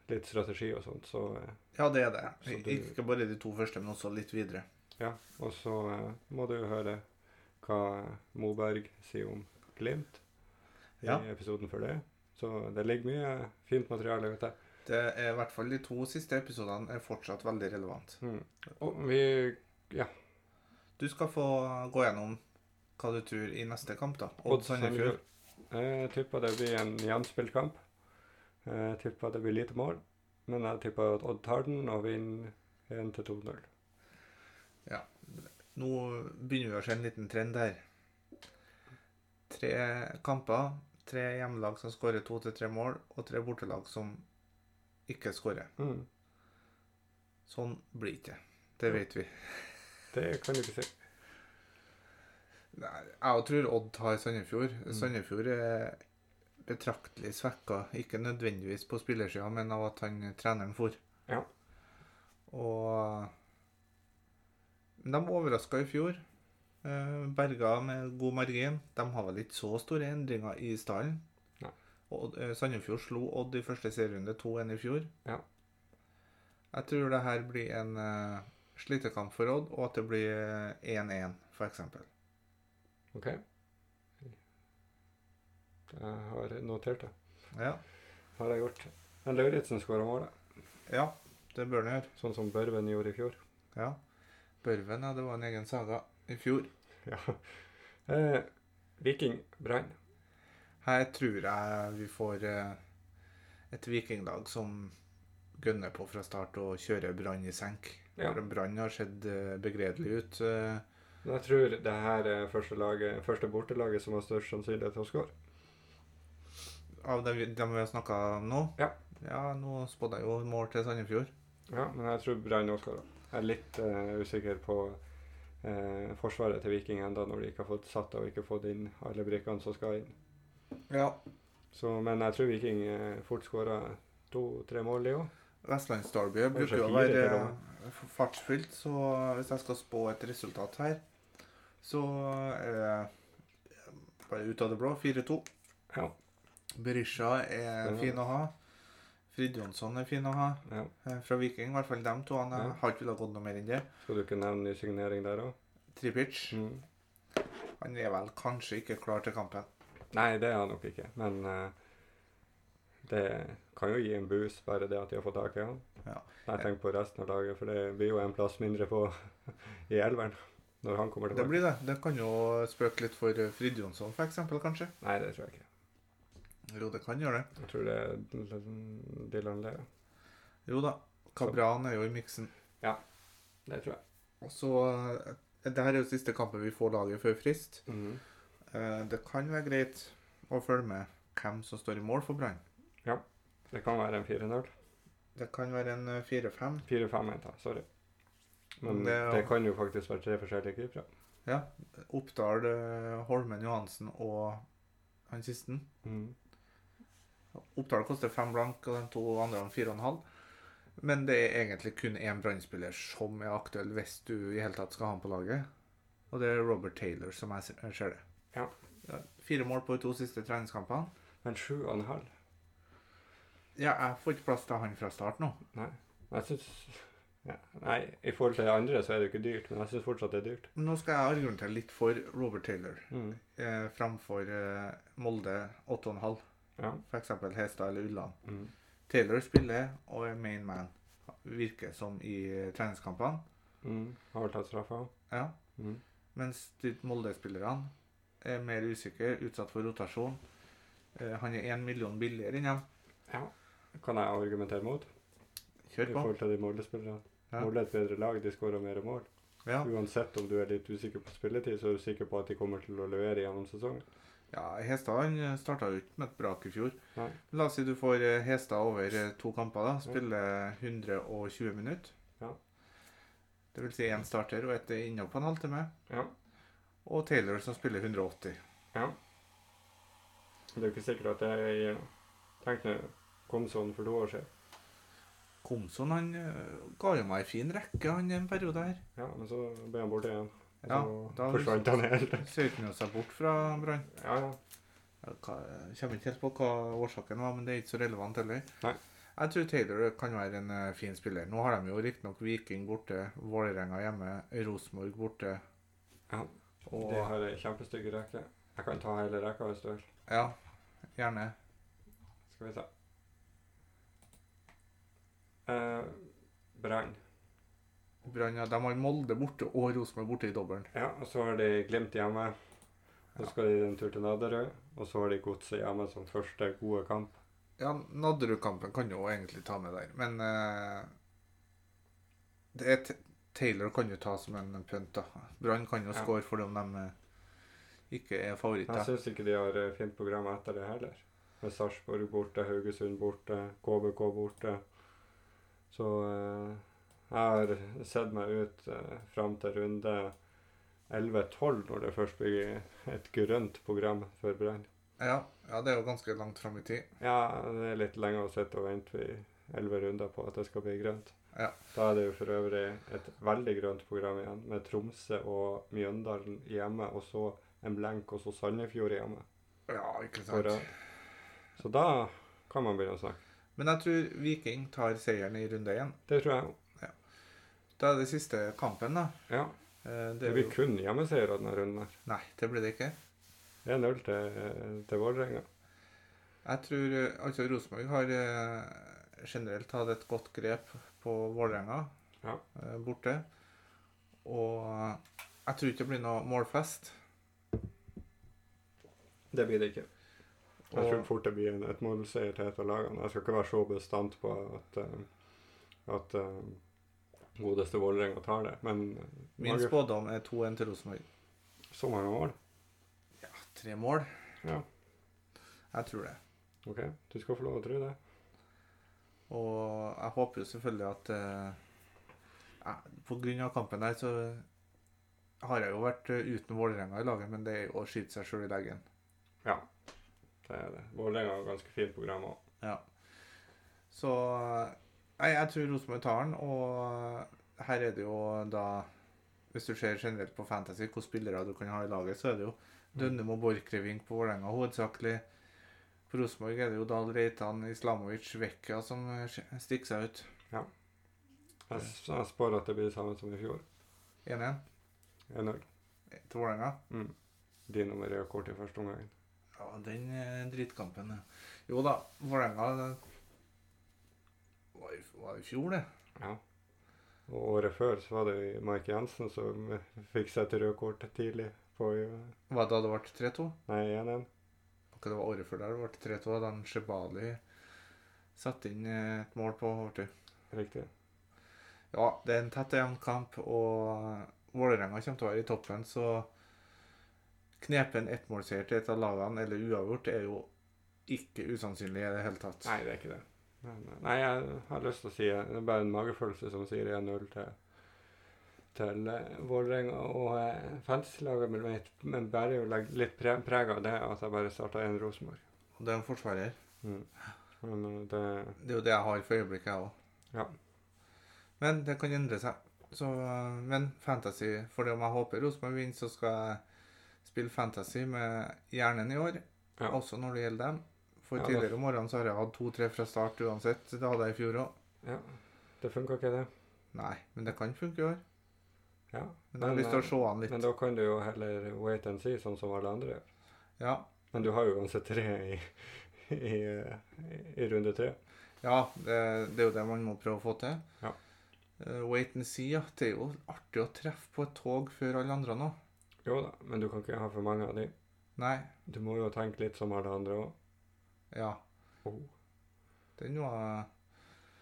Speaker 2: litt strategi og sånt. Så, eh,
Speaker 1: ja, det er det.
Speaker 2: Så du-
Speaker 1: Ikke bare de to første, men også litt videre.
Speaker 2: ja. Og så eh, må du jo høre hva Moberg sier om Glimt i
Speaker 1: Ja.
Speaker 2: episoden før det. Så det ligger mye fint materiale ute.
Speaker 1: Det er i hvert fall de to siste episodene er fortsatt veldig relevant.
Speaker 2: Mm. Og vi
Speaker 1: Du skal få gå gjennom hva du tror i neste kamp, da. Odd
Speaker 2: Odd
Speaker 1: Sandefjord.
Speaker 2: Sandefjord. Jeg tipper det blir en jevnspilt kamp. Jeg tipper det blir lite mål, men jeg tipper at Odd tar den og vinner 1-2-0.
Speaker 1: Nå begynner vi å se en liten trend her. Tre kamper, tre hjemmelag som skårer to til tre mål, og tre bortelag som ikke skårer.
Speaker 2: Mm.
Speaker 1: Sånn blir det ikke. Det vet vi.
Speaker 2: Det kan du ikke si.
Speaker 1: Nei, jeg tror Odd tar Sandefjord.
Speaker 2: Mm.
Speaker 1: Sandefjord er betraktelig svekka. Ikke nødvendigvis på spillersida, men av at han treneren for.
Speaker 2: Ja.
Speaker 1: Og Men de overraska i fjor. Eh, Berga med god margin. De har vel ikke så store endringer i stallen.
Speaker 2: Nei.
Speaker 1: Og eh, Sandefjord slo Odd i første serierunde 2-1 i fjor.
Speaker 2: Ja.
Speaker 1: Jeg tror det her blir en eh, slitekamp for Odd, og at det blir eh, 1-1, f.eks.
Speaker 2: OK? Jeg har notert det.
Speaker 1: Ja.
Speaker 2: Har jeg gjort. Men Lauritzen skåra målet,
Speaker 1: Ja, det bør den gjøre.
Speaker 2: sånn som Børven gjorde i fjor.
Speaker 1: Ja. Børven, ja, det var en egen saga i fjor.
Speaker 2: Ja. Eh, Viking Brann.
Speaker 1: Her tror jeg vi får eh, et vikinglag som gønner på fra start og kjører Brann i senk.
Speaker 2: Ja.
Speaker 1: For Brann har sett eh, begredelig ut. eh,
Speaker 2: Men Jeg tror det her er første, laget, første bortelaget som har størst sannsynlighet til å skåre.
Speaker 1: Av dem vi dem vi har snakka om nå.
Speaker 2: Ja.
Speaker 1: ja, nå spådde jeg jo mål til Sandefjord.
Speaker 2: Ja, men jeg tror Brann òg skåra. Jeg er litt eh, usikker på eh, forsvaret til Viking enda når de ikke har fått satt og ikke fått inn alle brikkene som skal inn.
Speaker 1: Ja.
Speaker 2: Så, men jeg tror Viking eh, fort skåra to-tre mål, de òg.
Speaker 1: Vestlandsderby bruker jo å
Speaker 2: fire
Speaker 1: være
Speaker 2: til og
Speaker 1: eh, fartsfylt, så hvis jeg skal spå et resultat her, så er det bare ut av det blå 4-2.
Speaker 2: Ja.
Speaker 1: Berisha er
Speaker 2: Spennende.
Speaker 1: fin å ha. Frid Jonsson er fin å ha.
Speaker 2: ja.
Speaker 1: eh, Fra Viking, i hvert fall dem to. Han eh,
Speaker 2: Ja.
Speaker 1: har ikke villet gått noe mer enn det.
Speaker 2: Skal du ikke nevne ny signering der òg?
Speaker 1: Tripic,
Speaker 2: Mm.
Speaker 1: han er vel kanskje ikke klar til kampen.
Speaker 2: Nei, det er han nok ikke. Men eh, det kan jo gi en boost, bare det at de har fått tak i han.
Speaker 1: Ja.
Speaker 2: Jeg tenker på resten av laget, for det blir jo en plass mindre på i elveren når han kommer
Speaker 1: Det
Speaker 2: tilbake.
Speaker 1: blir det. Det kan jo spøke litt for eh, Frid Jonsson, for eksempel, kanskje.
Speaker 2: Nei, det tror jeg ikke.
Speaker 1: Jo, det kan gjøre det.
Speaker 2: Jeg tror det er Dylan Lea.
Speaker 1: Jo da. Kabran er jo i miksen.
Speaker 2: Det tror jeg.
Speaker 1: Og så eh, Det her er jo siste kampen vi får laget før frist.
Speaker 2: Mhm.
Speaker 1: Eh, Det kan være greit å følge med hvem som står i mål for Brann.
Speaker 2: Det kan være en 4-0.
Speaker 1: Det kan være en eh, 4-5.
Speaker 2: 4-5 mente jeg, sorry. Men
Speaker 1: Det
Speaker 2: det,
Speaker 1: er jo-
Speaker 2: kan jo faktisk være tre forskjellige keepere.
Speaker 1: Oppdal, eh, Holmen Johansen og han siste.
Speaker 2: Mhm.
Speaker 1: Oppdal koster fem blank, og de to andre har fire og en halv. Men det er egentlig kun én Brann-spiller som er aktuell hvis du i hele tatt skal ha han på laget. Og det er Robert Taylor, som jeg ser- jeg ser det.
Speaker 2: Ja.
Speaker 1: Ja, Fire mål på de to siste treningskampene.
Speaker 2: Men 7,5?
Speaker 1: Ja, jeg får ikke plass til han fra start nå.
Speaker 2: Nei. Jeg synes... Ja. Nei, i forhold til det andre så er det jo ikke dyrt, men jeg syns fortsatt det er dyrt.
Speaker 1: Men Nå skal jeg argumentere litt for Robert Taylor
Speaker 2: Mhm.
Speaker 1: eh, framfor eh, Molde 8,5.
Speaker 2: Ja.
Speaker 1: F.eks. Hestad eller Ulland.
Speaker 2: Mhm.
Speaker 1: Taylor spiller og er main man. Virker som i eh, treningskampene.
Speaker 2: Mm. Mhm. Har vel tatt straffa òg.
Speaker 1: Ja. Mens de Molde-spillerne er mer usikre, utsatt for rotasjon. Eh, Han er én million billigere enn dem.
Speaker 2: Ja. Kan jeg argumentere mot? I
Speaker 1: Kjør på.
Speaker 2: forhold til de Molde-spillerne.
Speaker 1: Ja.
Speaker 2: Molde er et bedre lag, de skårer mer mål.
Speaker 1: Ja.
Speaker 2: Uansett om du er litt usikker på spilletid, så er du sikker på at de kommer til å levere gjennom sesongen.
Speaker 1: ja Hestad han starta jo ikke med et brak i fjor.
Speaker 2: Nei.
Speaker 1: La oss si du får eh, Hestad over eh, to kamper. da, Spiller 120 minutter.
Speaker 2: Ja.
Speaker 1: Det vil si én starter og ett er inne på en halvtime.
Speaker 2: Ja.
Speaker 1: Og Taylor som spiller 180.
Speaker 2: Det er jo ikke sikkert at det gir noe. Tenk nå, kom sånn for to år siden.
Speaker 1: Komson han eh, ga jo meg en fin rekke han en periode her.
Speaker 2: Ja, men så ble han borte igjen. Og
Speaker 1: Ja,
Speaker 2: så
Speaker 1: da-
Speaker 2: forsvant han helt.
Speaker 1: Søkte han jo seg bort fra Brann.
Speaker 2: Ja, ja.
Speaker 1: Jeg kommer ikke helt på hva årsaken var, men det er ikke så relevant heller.
Speaker 2: Nei.
Speaker 1: Jeg tror Taylor kan være en eh, fin spiller. Nå har de jo riktignok Viking borte, Vålerenga hjemme, Rosenborg borte.
Speaker 2: Ja.
Speaker 1: Og
Speaker 2: De har ei kjempestygg rekke. Jeg kan ta hele rekka hvis du vil.
Speaker 1: ja, gjerne.
Speaker 2: Skal vi se. Eh, Brann.
Speaker 1: Brann ja, de har Molde borte og Rosenborg borte i dobbelen.
Speaker 2: Ja, og så har de Glimt hjemme.
Speaker 1: Ja.
Speaker 2: Så skal de en tur til Naderød. Og så har de Godset hjemme som første gode kamp.
Speaker 1: Ja, Nadderud-kampen kan jo egentlig ta med der, men eh, det er t Taylor kan jo ta som en pynt, da. Brann kan jo
Speaker 2: Ja.
Speaker 1: score fordi om de eh, ikke er
Speaker 2: Jeg
Speaker 1: favoritter.
Speaker 2: syns ikke de har eh, fint program etter det heller. Med Sarpsborg borte, Haugesund borte, KBK borte. Så eh, jeg har sett meg ut eh, fram til runde 11-12, når det først blir et grønt program for Brann.
Speaker 1: Ja, ja, det er jo ganske langt fram i tid.
Speaker 2: Ja, det er litt lenge å sitte og vente i elleve runder på at det skal bli grønt.
Speaker 1: Ja.
Speaker 2: Da er det jo for øvrig et veldig grønt program igjen, med Tromsø og Mjøndalen hjemme, og så en blenk, og så Sandefjord hjemme.
Speaker 1: Ja, ikke
Speaker 2: på
Speaker 1: sant.
Speaker 2: rad. Så da kan man begynne å snakke.
Speaker 1: Men jeg tror Viking tar seieren i runde én.
Speaker 2: Det tror jeg.
Speaker 1: Da er det siste kampen, da.
Speaker 2: Ja,
Speaker 1: Eh,
Speaker 2: Det
Speaker 1: det, er
Speaker 2: blir
Speaker 1: jo...
Speaker 2: kun hjemmeseier av denne runden. her.
Speaker 1: Nei, det blir det ikke.
Speaker 2: 1-0 til, eh, til Vålerenga.
Speaker 1: Jeg tror eh, altså Rosenborg har eh, generelt hatt et godt grep på Vålerenga
Speaker 2: Ja.
Speaker 1: eh, borte. Og eh, jeg tror ikke det blir noe målfest.
Speaker 2: Det blir det ikke. Jeg tror
Speaker 1: Og,
Speaker 2: fort det blir en ettmålseier til et av lagene. Jeg skal ikke være så bestandt på at, eh, at eh, godeste Vålerenga tar det, men
Speaker 1: min
Speaker 2: Norge-
Speaker 1: spådom er 2-1 til Rosenborg.
Speaker 2: så mange mål.
Speaker 1: Ja, tre mål.
Speaker 2: Ja.
Speaker 1: Jeg tror det.
Speaker 2: OK, du skal få lov å tro det.
Speaker 1: Og jeg håper jo selvfølgelig at eh, jeg- På grunn av kampen her, så har jeg jo vært eh, uten Vålerenga i laget, men det er jo å skyte seg sjøl i leggen.
Speaker 2: Det er det. Vålerenga har ganske fint program òg.
Speaker 1: Så Nei, jeg tror Rosenborg tar den, og her er det jo da Hvis du ser generelt på Fantasy, hvilke spillere du kan ha i laget, så er det jo Dønnemo Borchgrevink på Vålerenga hovedsakelig. På Rosenborg er det jo Dahl Reitan, Islamovic, Vekka som eh, stikker seg ut.
Speaker 2: Jeg, s- jeg spår at det blir det samme som i fjor.
Speaker 1: 1-1
Speaker 2: 1-0.
Speaker 1: til Vålerenga.
Speaker 2: Mm. Dino Maria kort i første omgang.
Speaker 1: Ja, den eh, drittkampen. ja. Jo da, Vålerenga eh, var i- var i fjor, det.
Speaker 2: Ja. Og året før så var det jo Mike Jensen som fikk seg til rødt kort tidlig på eh,
Speaker 1: Var det da det ble 3-2?
Speaker 2: Nei, 1-1.
Speaker 1: Ok, det var året før der, det ble 3-2. Da han Shebali satte inn eh, et mål på overtid.
Speaker 2: Riktig.
Speaker 1: Ja, det er en tett og jevn kamp, og Vålerenga kommer til å være i toppen, så knepen ettmålseier til et av lagene, eller uavgjort, er jo ikke usannsynlig i det hele tatt.
Speaker 2: Nei, det er ikke det. Men, eh, nei, jeg har lyst til å si eh, det er bare en magefølelse som sier 1-0 til, til eh, Vålerenga. Og eh, fantasy-laget mitt men bærer jo leg- litt pre preg av det at jeg bare starta én Rosenborg.
Speaker 1: Og det er en forsvarer.
Speaker 2: Mm. Men eh, det
Speaker 1: Det er jo det jeg har for øyeblikket, jeg òg.
Speaker 2: Ja.
Speaker 1: Men det kan endre seg. Så, øh, men fantasy For det om jeg håper Rosenborg vinner, så skal jeg spille fantasy med hjernen i år.
Speaker 2: Ja.
Speaker 1: Også når det gjelder dem. For
Speaker 2: Ja, det-
Speaker 1: tidligere om morgenen så har jeg hatt to-tre fra start uansett. Det hadde jeg i fjor òg.
Speaker 2: Ja. Det funka ikke, det.
Speaker 1: Nei, men det kan funke i år.
Speaker 2: Ja.
Speaker 1: Men jeg har
Speaker 2: Men, eh,
Speaker 1: lyst til å se han
Speaker 2: Men
Speaker 1: litt.
Speaker 2: da kan du jo heller wait and see, sånn som alle andre.
Speaker 1: Ja,
Speaker 2: Men du har jo uansett tre i, i, eh, i runde tre.
Speaker 1: ja det, det er jo det man må prøve å få til.
Speaker 2: Ja.
Speaker 1: Eh, wait and see, ja. Det er jo artig å treffe på et tog før alle andre nå.
Speaker 2: Jo da, men du kan ikke ha for mange av de.
Speaker 1: Nei.
Speaker 2: Du må jo tenke litt som alle andre òg.
Speaker 1: Ja.
Speaker 2: Oh.
Speaker 1: Den var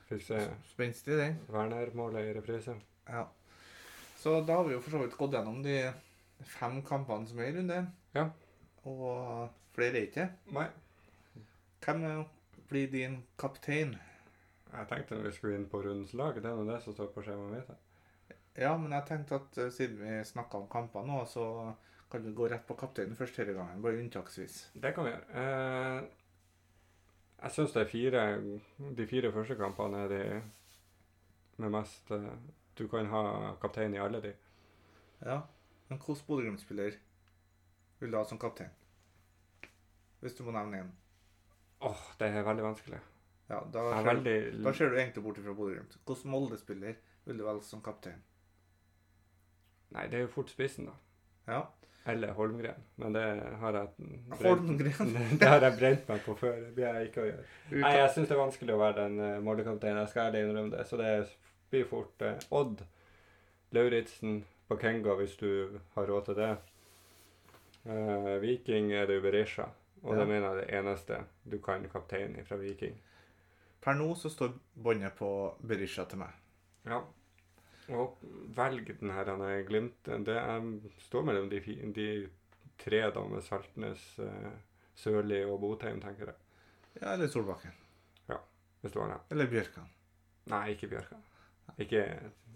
Speaker 2: Fikk se
Speaker 1: spenstig, den.
Speaker 2: Werner-målet i reprise.
Speaker 1: Ja. Så da har vi jo for så vidt gått gjennom de fem kampene som er i runde én.
Speaker 2: Ja.
Speaker 1: Og flere er ikke.
Speaker 2: Nei,
Speaker 1: Hvem eh, blir din kaptein?
Speaker 2: jeg tenkte når vi skulle inn på rundens lag, det er nå det som står på skjemaet mitt. her.
Speaker 1: Ja, men jeg tenkte at eh, siden vi snakka om kamper nå, så kan vi gå rett på kapteinen først denne gangen. Bare unntaksvis.
Speaker 2: Det kan vi gjøre. Eh, jeg syns de fire, de fire første kampene er de med mest eh, Du kan ha kaptein i alle de.
Speaker 1: Ja. Men hvilken Bodø-Glimt-spiller vil du ha som kaptein? Hvis du må nevne én.
Speaker 2: Åh, det er veldig vanskelig.
Speaker 1: Ja, da
Speaker 2: Jeg er
Speaker 1: ser,
Speaker 2: veldig
Speaker 1: da ser du egentlig bort fra Bodø-Glimt. Hvilken Molde-spiller vil du velge som kaptein?
Speaker 2: Nei, det er jo fort spissen, da.
Speaker 1: Ja.
Speaker 2: Eller Holmgren. Men det har jeg
Speaker 1: Holmgren.
Speaker 2: Det har jeg brent meg på før. Det blir jeg ikke å gjøre. Nei, jeg syns det er vanskelig å være den uh, målekapteinen. Jeg skal ærlig innrømme det. Så det blir fort eh, Odd, Lauritzen, Bakenga hvis du har råd til det. Eh, Viking er det Berisha. Og
Speaker 1: Ja.
Speaker 2: det mener jeg er det eneste du kan kapteinen fra Viking.
Speaker 1: Per nå så står båndet på Berisha til meg.
Speaker 2: Ja. Og velg den her han er Glimt. Det er, står mellom de, fi- de tre da med Saltnes, eh, Sørli og Botheim, tenker jeg.
Speaker 1: Ja, eller Solbakken.
Speaker 2: Hvis du har den.
Speaker 1: Eller Bjørkan.
Speaker 2: Nei, ikke Bjørka. Ikke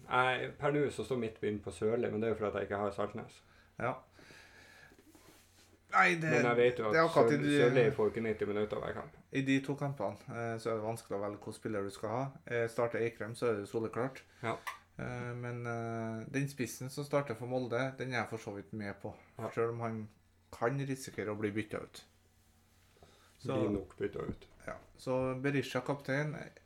Speaker 2: Nei, per nå så står mitt bind på Sørli, men det er jo fordi jeg ikke har Saltnes.
Speaker 1: Ja. Nei, det,
Speaker 2: Men jeg vet jo
Speaker 1: det er
Speaker 2: at
Speaker 1: akkurat i
Speaker 2: Sør-
Speaker 1: de-
Speaker 2: Sørli får ikke 90 minutter hver kamp.
Speaker 1: I de to kampene eh, så er det vanskelig å velge hvilken spiller du skal ha. Eh, Starter Eikrem, så er det soleklart.
Speaker 2: Ja.
Speaker 1: Eh, Men eh, den spissen som starter for Molde, den er jeg for så vidt med på.
Speaker 2: Ja.
Speaker 1: Selv om han kan risikere å bli bytta ut. Så,
Speaker 2: Blir nok bytta ut.
Speaker 1: ja. så Berisha kaptein er jeg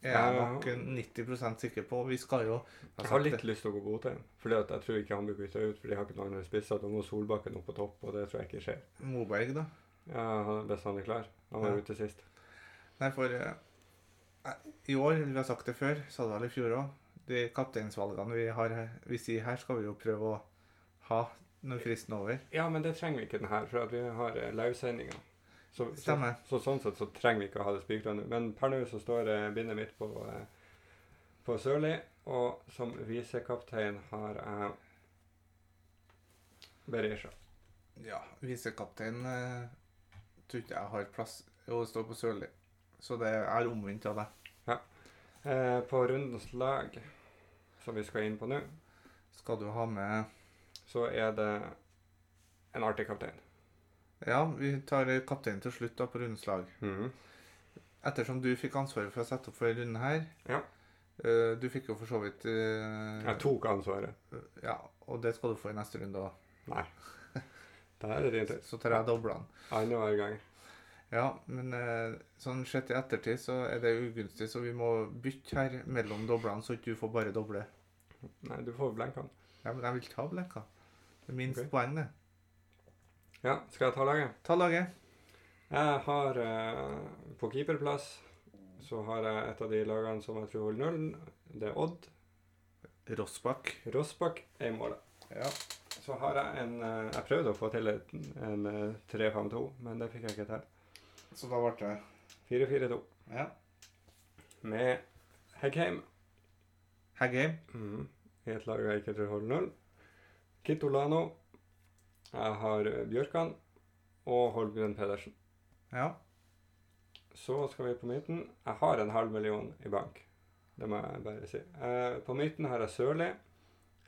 Speaker 2: Ja.
Speaker 1: nok 90 sikker på. Vi skal jo
Speaker 2: Jeg har litt lyst til å gå Botheim, for jeg tror ikke han blir bytta ut. For de har ikke noen andre spisser. Da må Solbakken opp på topp, og det tror jeg ikke skjer.
Speaker 1: Moberg, da.
Speaker 2: Ja, han- Hvis han er klar. Han var
Speaker 1: Ja.
Speaker 2: ute sist.
Speaker 1: Nei, for eh, i år, eller vi har sagt det før, sa det vel i fjor òg, de kapteinsvalgene vi, har, her- vi sier her, skal vi jo prøve å ha når fristen er over.
Speaker 2: Ja, men det trenger vi ikke den her, for at vi har eh, livesendinger. Så, så,
Speaker 1: Stemmer.
Speaker 2: så sånn sett så trenger vi ikke å ha det spikra nå. Men per nå så står eh, bindet mitt på, eh, på Sørli, og som visekaptein har jeg Berisha.
Speaker 1: Ja, visekaptein eh, tror ikke jeg har plass Jo, det står på Sørli, så det er omvendt av deg.
Speaker 2: Eh, på rundens lag, som vi skal inn på nå,
Speaker 1: Skal du ha med
Speaker 2: så er det en artig kaptein.
Speaker 1: Ja, vi tar kapteinen til slutt da på rundens lag.
Speaker 2: Mhm.
Speaker 1: Ettersom du fikk ansvaret for å sette opp for runden her
Speaker 2: Ja.
Speaker 1: eh, Du fikk jo for så vidt eh,
Speaker 2: Jeg tok ansvaret.
Speaker 1: Ja, og det skal du få i neste runde òg.
Speaker 2: Nei. Der er det din tur.
Speaker 1: Så tar jeg doblene.
Speaker 2: Annenhver gang.
Speaker 1: Ja, men eh, sånn sett i ettertid så er det ugunstig, så vi må bytte her mellom doblene, så ikke du får bare doble.
Speaker 2: Nei, du får blenke han.
Speaker 1: Ja, men jeg vil ta blekka. Det er minst
Speaker 2: Ok.
Speaker 1: poeng, det.
Speaker 2: Ja, skal jeg ta laget?
Speaker 1: Ta laget.
Speaker 2: Jeg har eh, på keeperplass så har jeg et av de lagene som jeg tror holder nullen. Det er Odd.
Speaker 1: Rossbakk.
Speaker 2: Rossbakk er i målet.
Speaker 1: Ja.
Speaker 2: Så har jeg en eh, Jeg prøvde å få til et- en eh, 3-5-2, men det fikk jeg ikke til.
Speaker 1: Så da ble det
Speaker 2: 4-4-2
Speaker 1: Ja.
Speaker 2: med Heggheim
Speaker 1: Heggheim.
Speaker 2: Mhm. i et lag jeg ikke tror holder null. Kitolano. Jeg har eh, Bjørkan og Holmgren Pedersen.
Speaker 1: Ja.
Speaker 2: Så skal vi på midten. Jeg har en halv million i bank. Det må jeg bare si. Eh, på midten har jeg Sørli,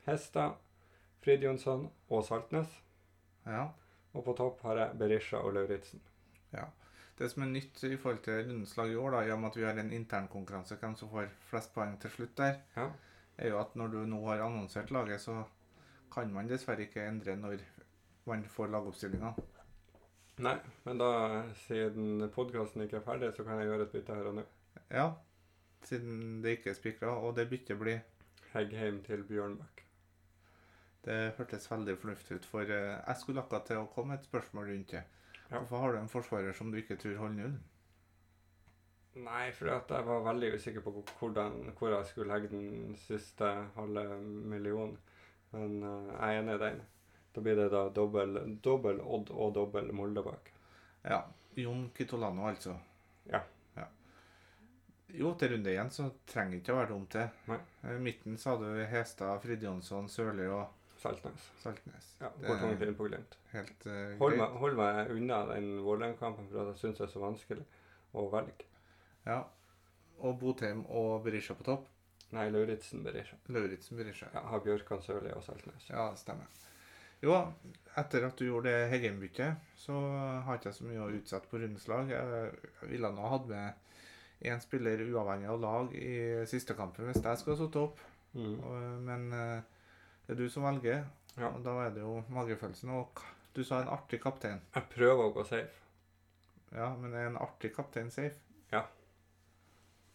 Speaker 2: Hesta, Fridjonsson og Saltnes.
Speaker 1: ja.
Speaker 2: Og på topp har jeg Berisha og Lauritzen.
Speaker 1: Det som er nytt i forhold til rundens lag i år, da, i og med at vi har en internkonkurranse, hvem som får flest poeng til slutt der,
Speaker 2: Ja.
Speaker 1: er jo at når du nå har annonsert laget, så kan man dessverre ikke endre når man får lagoppstillinga.
Speaker 2: Nei, men da, siden podkasten ikke er ferdig, så kan jeg gjøre et bytte her og nå.
Speaker 1: Ja, siden det ikke er spikra, og det byttet blir
Speaker 2: Heggheim til Bjørnbakk.
Speaker 1: Det hørtes veldig fornuftig ut, for eh, jeg skulle akkurat til å komme med et spørsmål rundt det.
Speaker 2: Ja.
Speaker 1: Hvorfor har du en forsvarer som du ikke tror holder null?
Speaker 2: Nei, for at jeg var veldig usikker på hvor- hvordan, hvor jeg skulle legge den siste halve millionen. Men eh, jeg er enig i den. Da blir det da dobbel, dobbel Odd og dobbel Molde bak.
Speaker 1: Ja. Jon Kitolano, altså.
Speaker 2: Ja.
Speaker 1: ja. Jo, til runde én så trenger det ikke å være dumt, det.
Speaker 2: Nei.
Speaker 1: Eh, Midten så hadde du Hestad, Frid Jonsson, Sørli og
Speaker 2: Saltnes.
Speaker 1: Saltnes.
Speaker 2: Ja,
Speaker 1: Det-
Speaker 2: går tungt inn på Glimt.
Speaker 1: Helt eh,
Speaker 2: Hold
Speaker 1: greit.
Speaker 2: meg, hold meg unna den Vålerenga-kampen, for at jeg syns det er så vanskelig å velge.
Speaker 1: Ja. Og Botheim og Berisha på topp.
Speaker 2: Nei, Lauritzen Berisha.
Speaker 1: Lauritzen Berisha.
Speaker 2: Ja, har Bjørkan Sørli og Saltnes.
Speaker 1: Ja, det stemmer. Jo, etter at du gjorde det Heggem-byttet, så har ikke jeg så mye å utsette på rundens lag. Jeg jeg ville nå hatt med én spiller uavhengig av lag i siste kampen hvis jeg skulle ha satt opp,
Speaker 2: Mm.
Speaker 1: Og- men eh, det er du som velger.
Speaker 2: Ja.
Speaker 1: Og da er det jo magefølelsen. Og k- du sa en artig kaptein.
Speaker 2: Jeg prøver å gå safe.
Speaker 1: Ja, men er en artig kaptein safe?
Speaker 2: Ja.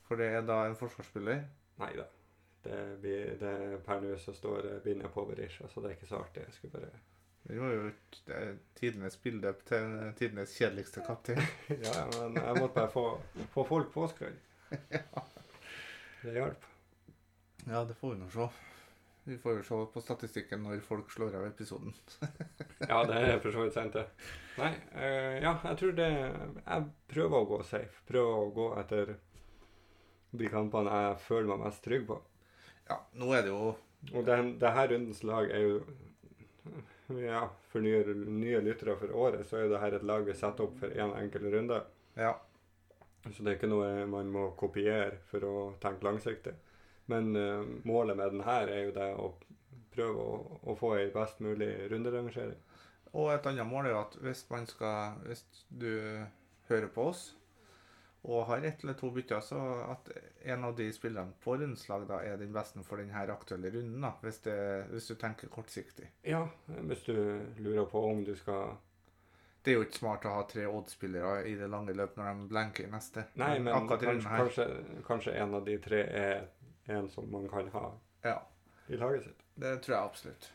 Speaker 1: For det er da en forsvarsspiller?
Speaker 2: Nei da. Det blir, det, per nå så står eh, bindet på Berisha, så det er ikke så artig. Jeg skulle bare
Speaker 1: Det var jo et- det er tidenes bilde til tidenes kjedeligste kaptein.
Speaker 2: Ja, ja, men jeg måtte bare få, få folk påskrudd. Det hjalp.
Speaker 1: Ja, det får vi nå se. Vi får jo se på statistikken når folk slår av episoden.
Speaker 2: Ja, det er for så vidt sant, det. Nei, eh, ja, jeg tror det Jeg prøver å gå safe. Prøver å gå etter de kampene jeg føler meg mest trygg på.
Speaker 1: Ja, nå er det jo
Speaker 2: Og den, det her rundens lag er jo Ja, for nye, nye lyttere for året, så er jo det her et lag vi setter opp for én enkel runde.
Speaker 1: Ja,
Speaker 2: Så det er ikke noe man må kopiere for å tenke langsiktig. Men eh, målet med den her er jo det å prøve å, å få ei best mulig runderangering.
Speaker 1: og et annet mål er jo at hvis man skal Hvis du hører på oss og har ett eller to bytter, så at en av de spillerne på rundslag da er den beste for denne aktuelle runden, da, hvis, det, hvis du tenker kortsiktig.
Speaker 2: Ja, hvis du lurer på om du skal
Speaker 1: Det er jo ikke smart å ha tre Odd-spillere i det lange løp når de blenker i neste.
Speaker 2: Nei, men
Speaker 1: akkurat i
Speaker 2: kanskje,
Speaker 1: runden her
Speaker 2: kanskje, kanskje en av de tre er en som man kan ha
Speaker 1: Ja.
Speaker 2: i laget sitt.
Speaker 1: Det tror jeg absolutt.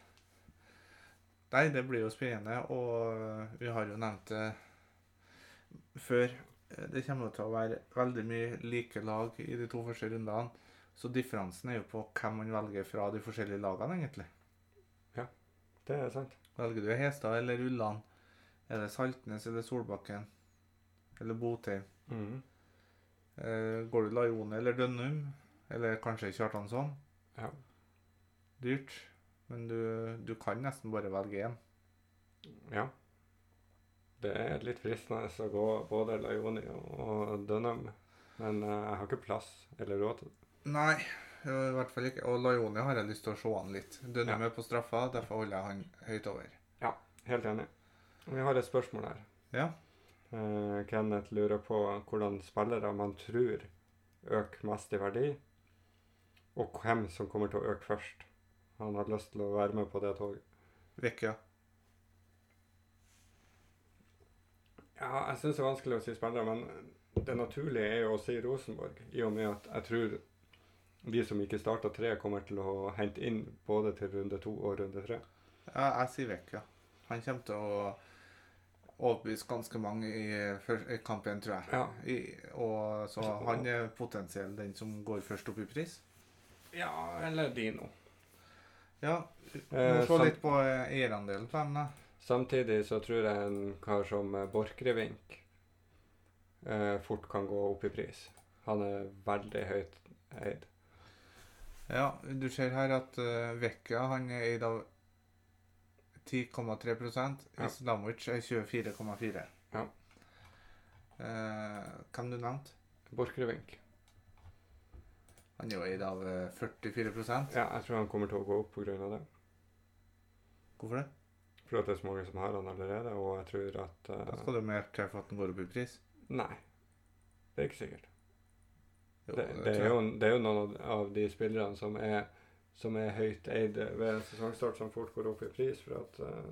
Speaker 1: Nei, det blir jo spennende, og vi har jo nevnt det før. Det kommer jo til å være veldig mye like lag i de to første rundene. Så differansen er jo på hvem man velger fra de forskjellige lagene, egentlig.
Speaker 2: Det er sant.
Speaker 1: Velger du Hestad eller Ulland? Er det Saltnes eller Solbakken? Eller Botheim? Eh, Går du Laione eller Dønnum? Eller kanskje Kjartansson?
Speaker 2: Ja.
Speaker 1: Dyrt. Men du, du kan nesten bare velge én.
Speaker 2: ja. Det er litt fristende å gå både Laioni og Dunham, men eh, jeg har ikke plass eller råd til det.
Speaker 1: Nei, i hvert fall ikke. Og Laioni har jeg lyst til å se han litt. Dønnum er på straffa, derfor holder jeg han høyt over.
Speaker 2: Helt enig. Vi har et spørsmål her.
Speaker 1: Ja.
Speaker 2: Eh, Kenneth lurer på hvordan spillere man tror øker mest i verdi, og hvem som kommer til å øke først. Han har lyst til å være med på det toget.
Speaker 1: Vekka.
Speaker 2: Ja, jeg syns det er vanskelig å si spillere, men det naturlige er jo å si Rosenborg, i og med at jeg tror de som ikke starta tre, kommer til å hente inn både til runde to og runde tre.
Speaker 1: Ja, jeg sier Vekka. Han kommer til å overbevise ganske mange i, før- i kamp én, tror jeg.
Speaker 2: Ja,
Speaker 1: I, og så han er potensielt den som går først opp i pris.
Speaker 2: ja eller Dino.
Speaker 1: Ja, vi
Speaker 2: Eh,
Speaker 1: må se
Speaker 2: sam-
Speaker 1: litt på eh, eierandelen på dem, da.
Speaker 2: Samtidig så tror jeg en kar som eh, Borchgrevink eh, fort kan gå opp i pris. Han er veldig høyt eid.
Speaker 1: Ja, du ser her at eh, Vekka han er eid av 10,3
Speaker 2: Ja.
Speaker 1: Islamovic er 24,4
Speaker 2: Ja.
Speaker 1: Eh, Hvem du nevnte?
Speaker 2: Borchgrevink.
Speaker 1: Han er jo eid av eh, 44
Speaker 2: Ja, jeg tror han kommer til å gå opp pga. det.
Speaker 1: Hvorfor det?
Speaker 2: For at det er så mange som har han allerede, og jeg tror at
Speaker 1: Da
Speaker 2: eh,
Speaker 1: skal du mer til for at den går opp i pris.
Speaker 2: Nei. Det er ikke sikkert.
Speaker 1: Jo, det
Speaker 2: Det, det,
Speaker 1: tror
Speaker 2: er,
Speaker 1: jeg.
Speaker 2: jo, det er jo noen av- av de spillerne som er, som er høyt eid ved sesongstart, som fort går opp i pris. For at eh,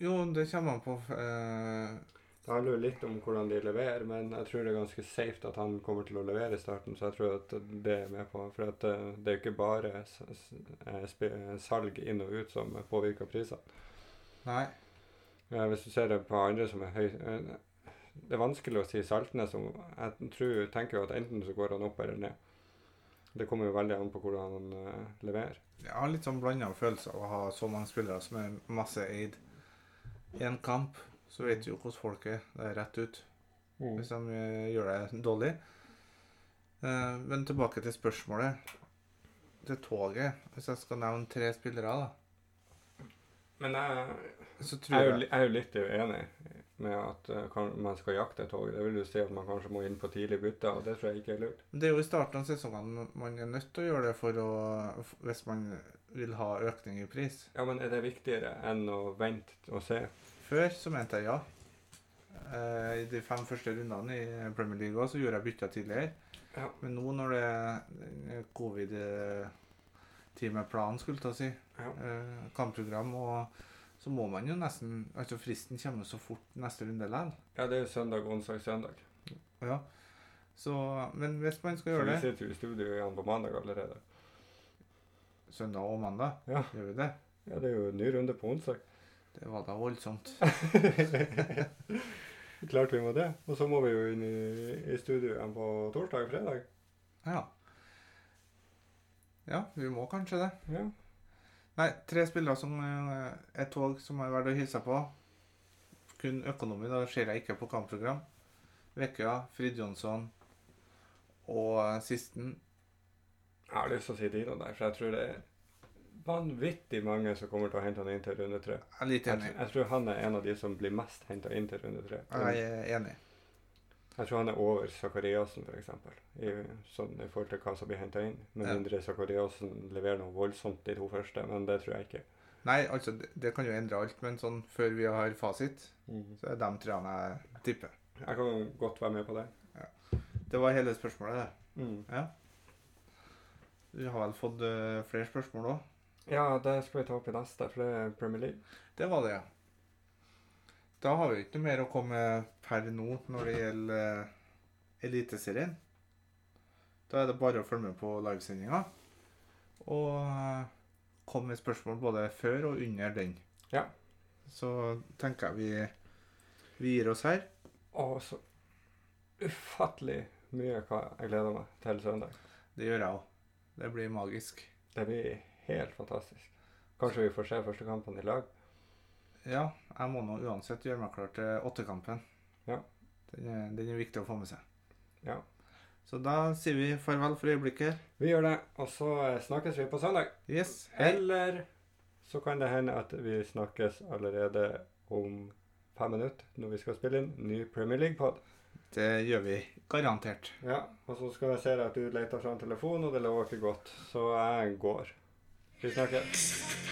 Speaker 1: jo, det kommer an på eh,
Speaker 2: Det handler jo litt om hvordan de leverer, men jeg tror det er ganske safe at han kommer til å levere i starten, så jeg tror at det er med på. For at eh, det er jo ikke bare s- s- eh, sp- salg inn og ut som påvirker prisene.
Speaker 1: Nei.
Speaker 2: Eh, Hvis du ser det på andre som er høy eh, Det er vanskelig å si Saltnes som Jeg tror, tenker jo at enten så går han opp eller ned. Det kommer jo veldig an på hvordan han eh, leverer.
Speaker 1: Jeg har litt sånn blanda følelser av å ha så mange spillere som er masse eid. I en kamp så vet du jo hvordan folk er. Det er rett ut hvis de eh, gjør det dårlig. Eh, Men tilbake til spørsmålet. Til toget. Hvis jeg skal nevne tre spillere, da,
Speaker 2: Men jeg,
Speaker 1: så
Speaker 2: jeg, er
Speaker 1: tror
Speaker 2: jo,
Speaker 1: jeg
Speaker 2: li- jeg er jo litt uenig med at eh, kan, man skal jakte et tog. Det vil jo si at man kanskje må inn på tidlig bytte, og det tror jeg ikke er lurt.
Speaker 1: Det er jo i starten av sesongene man er nødt til å gjøre det for å f- Hvis man vil ha økning i pris.
Speaker 2: Ja, men er det viktigere enn å vente og se?
Speaker 1: Før så mente jeg ja. Eh, I de fem første rundene i Premier League også, så gjorde jeg bytter tidligere.
Speaker 2: Ja.
Speaker 1: Men nå når det eh, covid-teamet planen skulle ta si,
Speaker 2: Ja.
Speaker 1: eh, kampprogram, og så må man jo nesten Altså fristen kommer jo så fort neste runde likevel.
Speaker 2: Ja, det er jo søndag, onsdag, søndag.
Speaker 1: Ja. Så, men hvis man skal
Speaker 2: Så vi
Speaker 1: gjøre det
Speaker 2: sitter jo i studio igjen på mandag allerede.
Speaker 1: søndag og mandag,
Speaker 2: Ja.
Speaker 1: gjør vi det?
Speaker 2: Ja, det er jo en ny runde på onsdag.
Speaker 1: Det var da voldsomt.
Speaker 2: Klart vi må det. Og så må vi jo inn i, i studio igjen på torsdag og fredag.
Speaker 1: Ja. Ja, vi må kanskje det.
Speaker 2: Ja.
Speaker 1: Nei, tre spillere som eh, et tog som er verdt å hilse på. Kun økonomi, da ser jeg ikke på kampprogram. Vekkøya, Frid Jonsson og eh, sisten
Speaker 2: Jeg har lyst til å si Dino der, for jeg tror det er vanvittig mange som kommer til å hente han inn til runde tre.
Speaker 1: Jeg er litt
Speaker 2: Jeg,
Speaker 1: enig.
Speaker 2: tr- jeg tror han er en av de som blir mest henta inn til runde tre.
Speaker 1: Jeg er enig.
Speaker 2: Jeg tror han er over Sakariassen, f.eks., i, sånn, i forhold til hva som blir henta inn. Med
Speaker 1: Ja.
Speaker 2: mindre Sakariassen leverer noe voldsomt de to første, men det tror jeg ikke.
Speaker 1: Nei, altså, det, det kan jo endre alt, men sånn før vi har fasit, så er de treene jeg tipper.
Speaker 2: Jeg kan jo godt være med på det. Mm.
Speaker 1: Det var hele spørsmålet, det. Du har vel fått eh, flere spørsmål òg?
Speaker 2: Ja, det skal vi ta opp i neste, for det er Premier League.
Speaker 1: Det var det, ja. Da har vi ikke noe mer å komme med per nå når det gjelder eh, Eliteserien. Da er det bare å følge med på livesendinga. Og eh, kom med spørsmål både før og under den.
Speaker 2: Ja.
Speaker 1: Så tenker jeg vi, vi gir oss her.
Speaker 2: Og så ufattelig mye hva jeg gleder meg til søndag.
Speaker 1: Det gjør jeg òg. Det blir magisk.
Speaker 2: Det blir helt fantastisk. Kanskje vi får se første kampen i lag.
Speaker 1: Ja, jeg må nå uansett gjøre meg klar til åttekampen.
Speaker 2: Ja.
Speaker 1: Den er, den er viktig å få med seg.
Speaker 2: Ja.
Speaker 1: Så da sier vi farvel for øyeblikket.
Speaker 2: Vi gjør det, og så eh, snakkes vi på søndag.
Speaker 1: Yes.
Speaker 2: Eller så kan det hende at vi snakkes allerede om fem minutter når vi skal spille inn ny Premier League-pod.
Speaker 1: Det gjør vi garantert.
Speaker 2: Ja, og så skal jeg se at du leter fram telefonen, og det lover ikke godt. Så jeg går. Vi snakkes.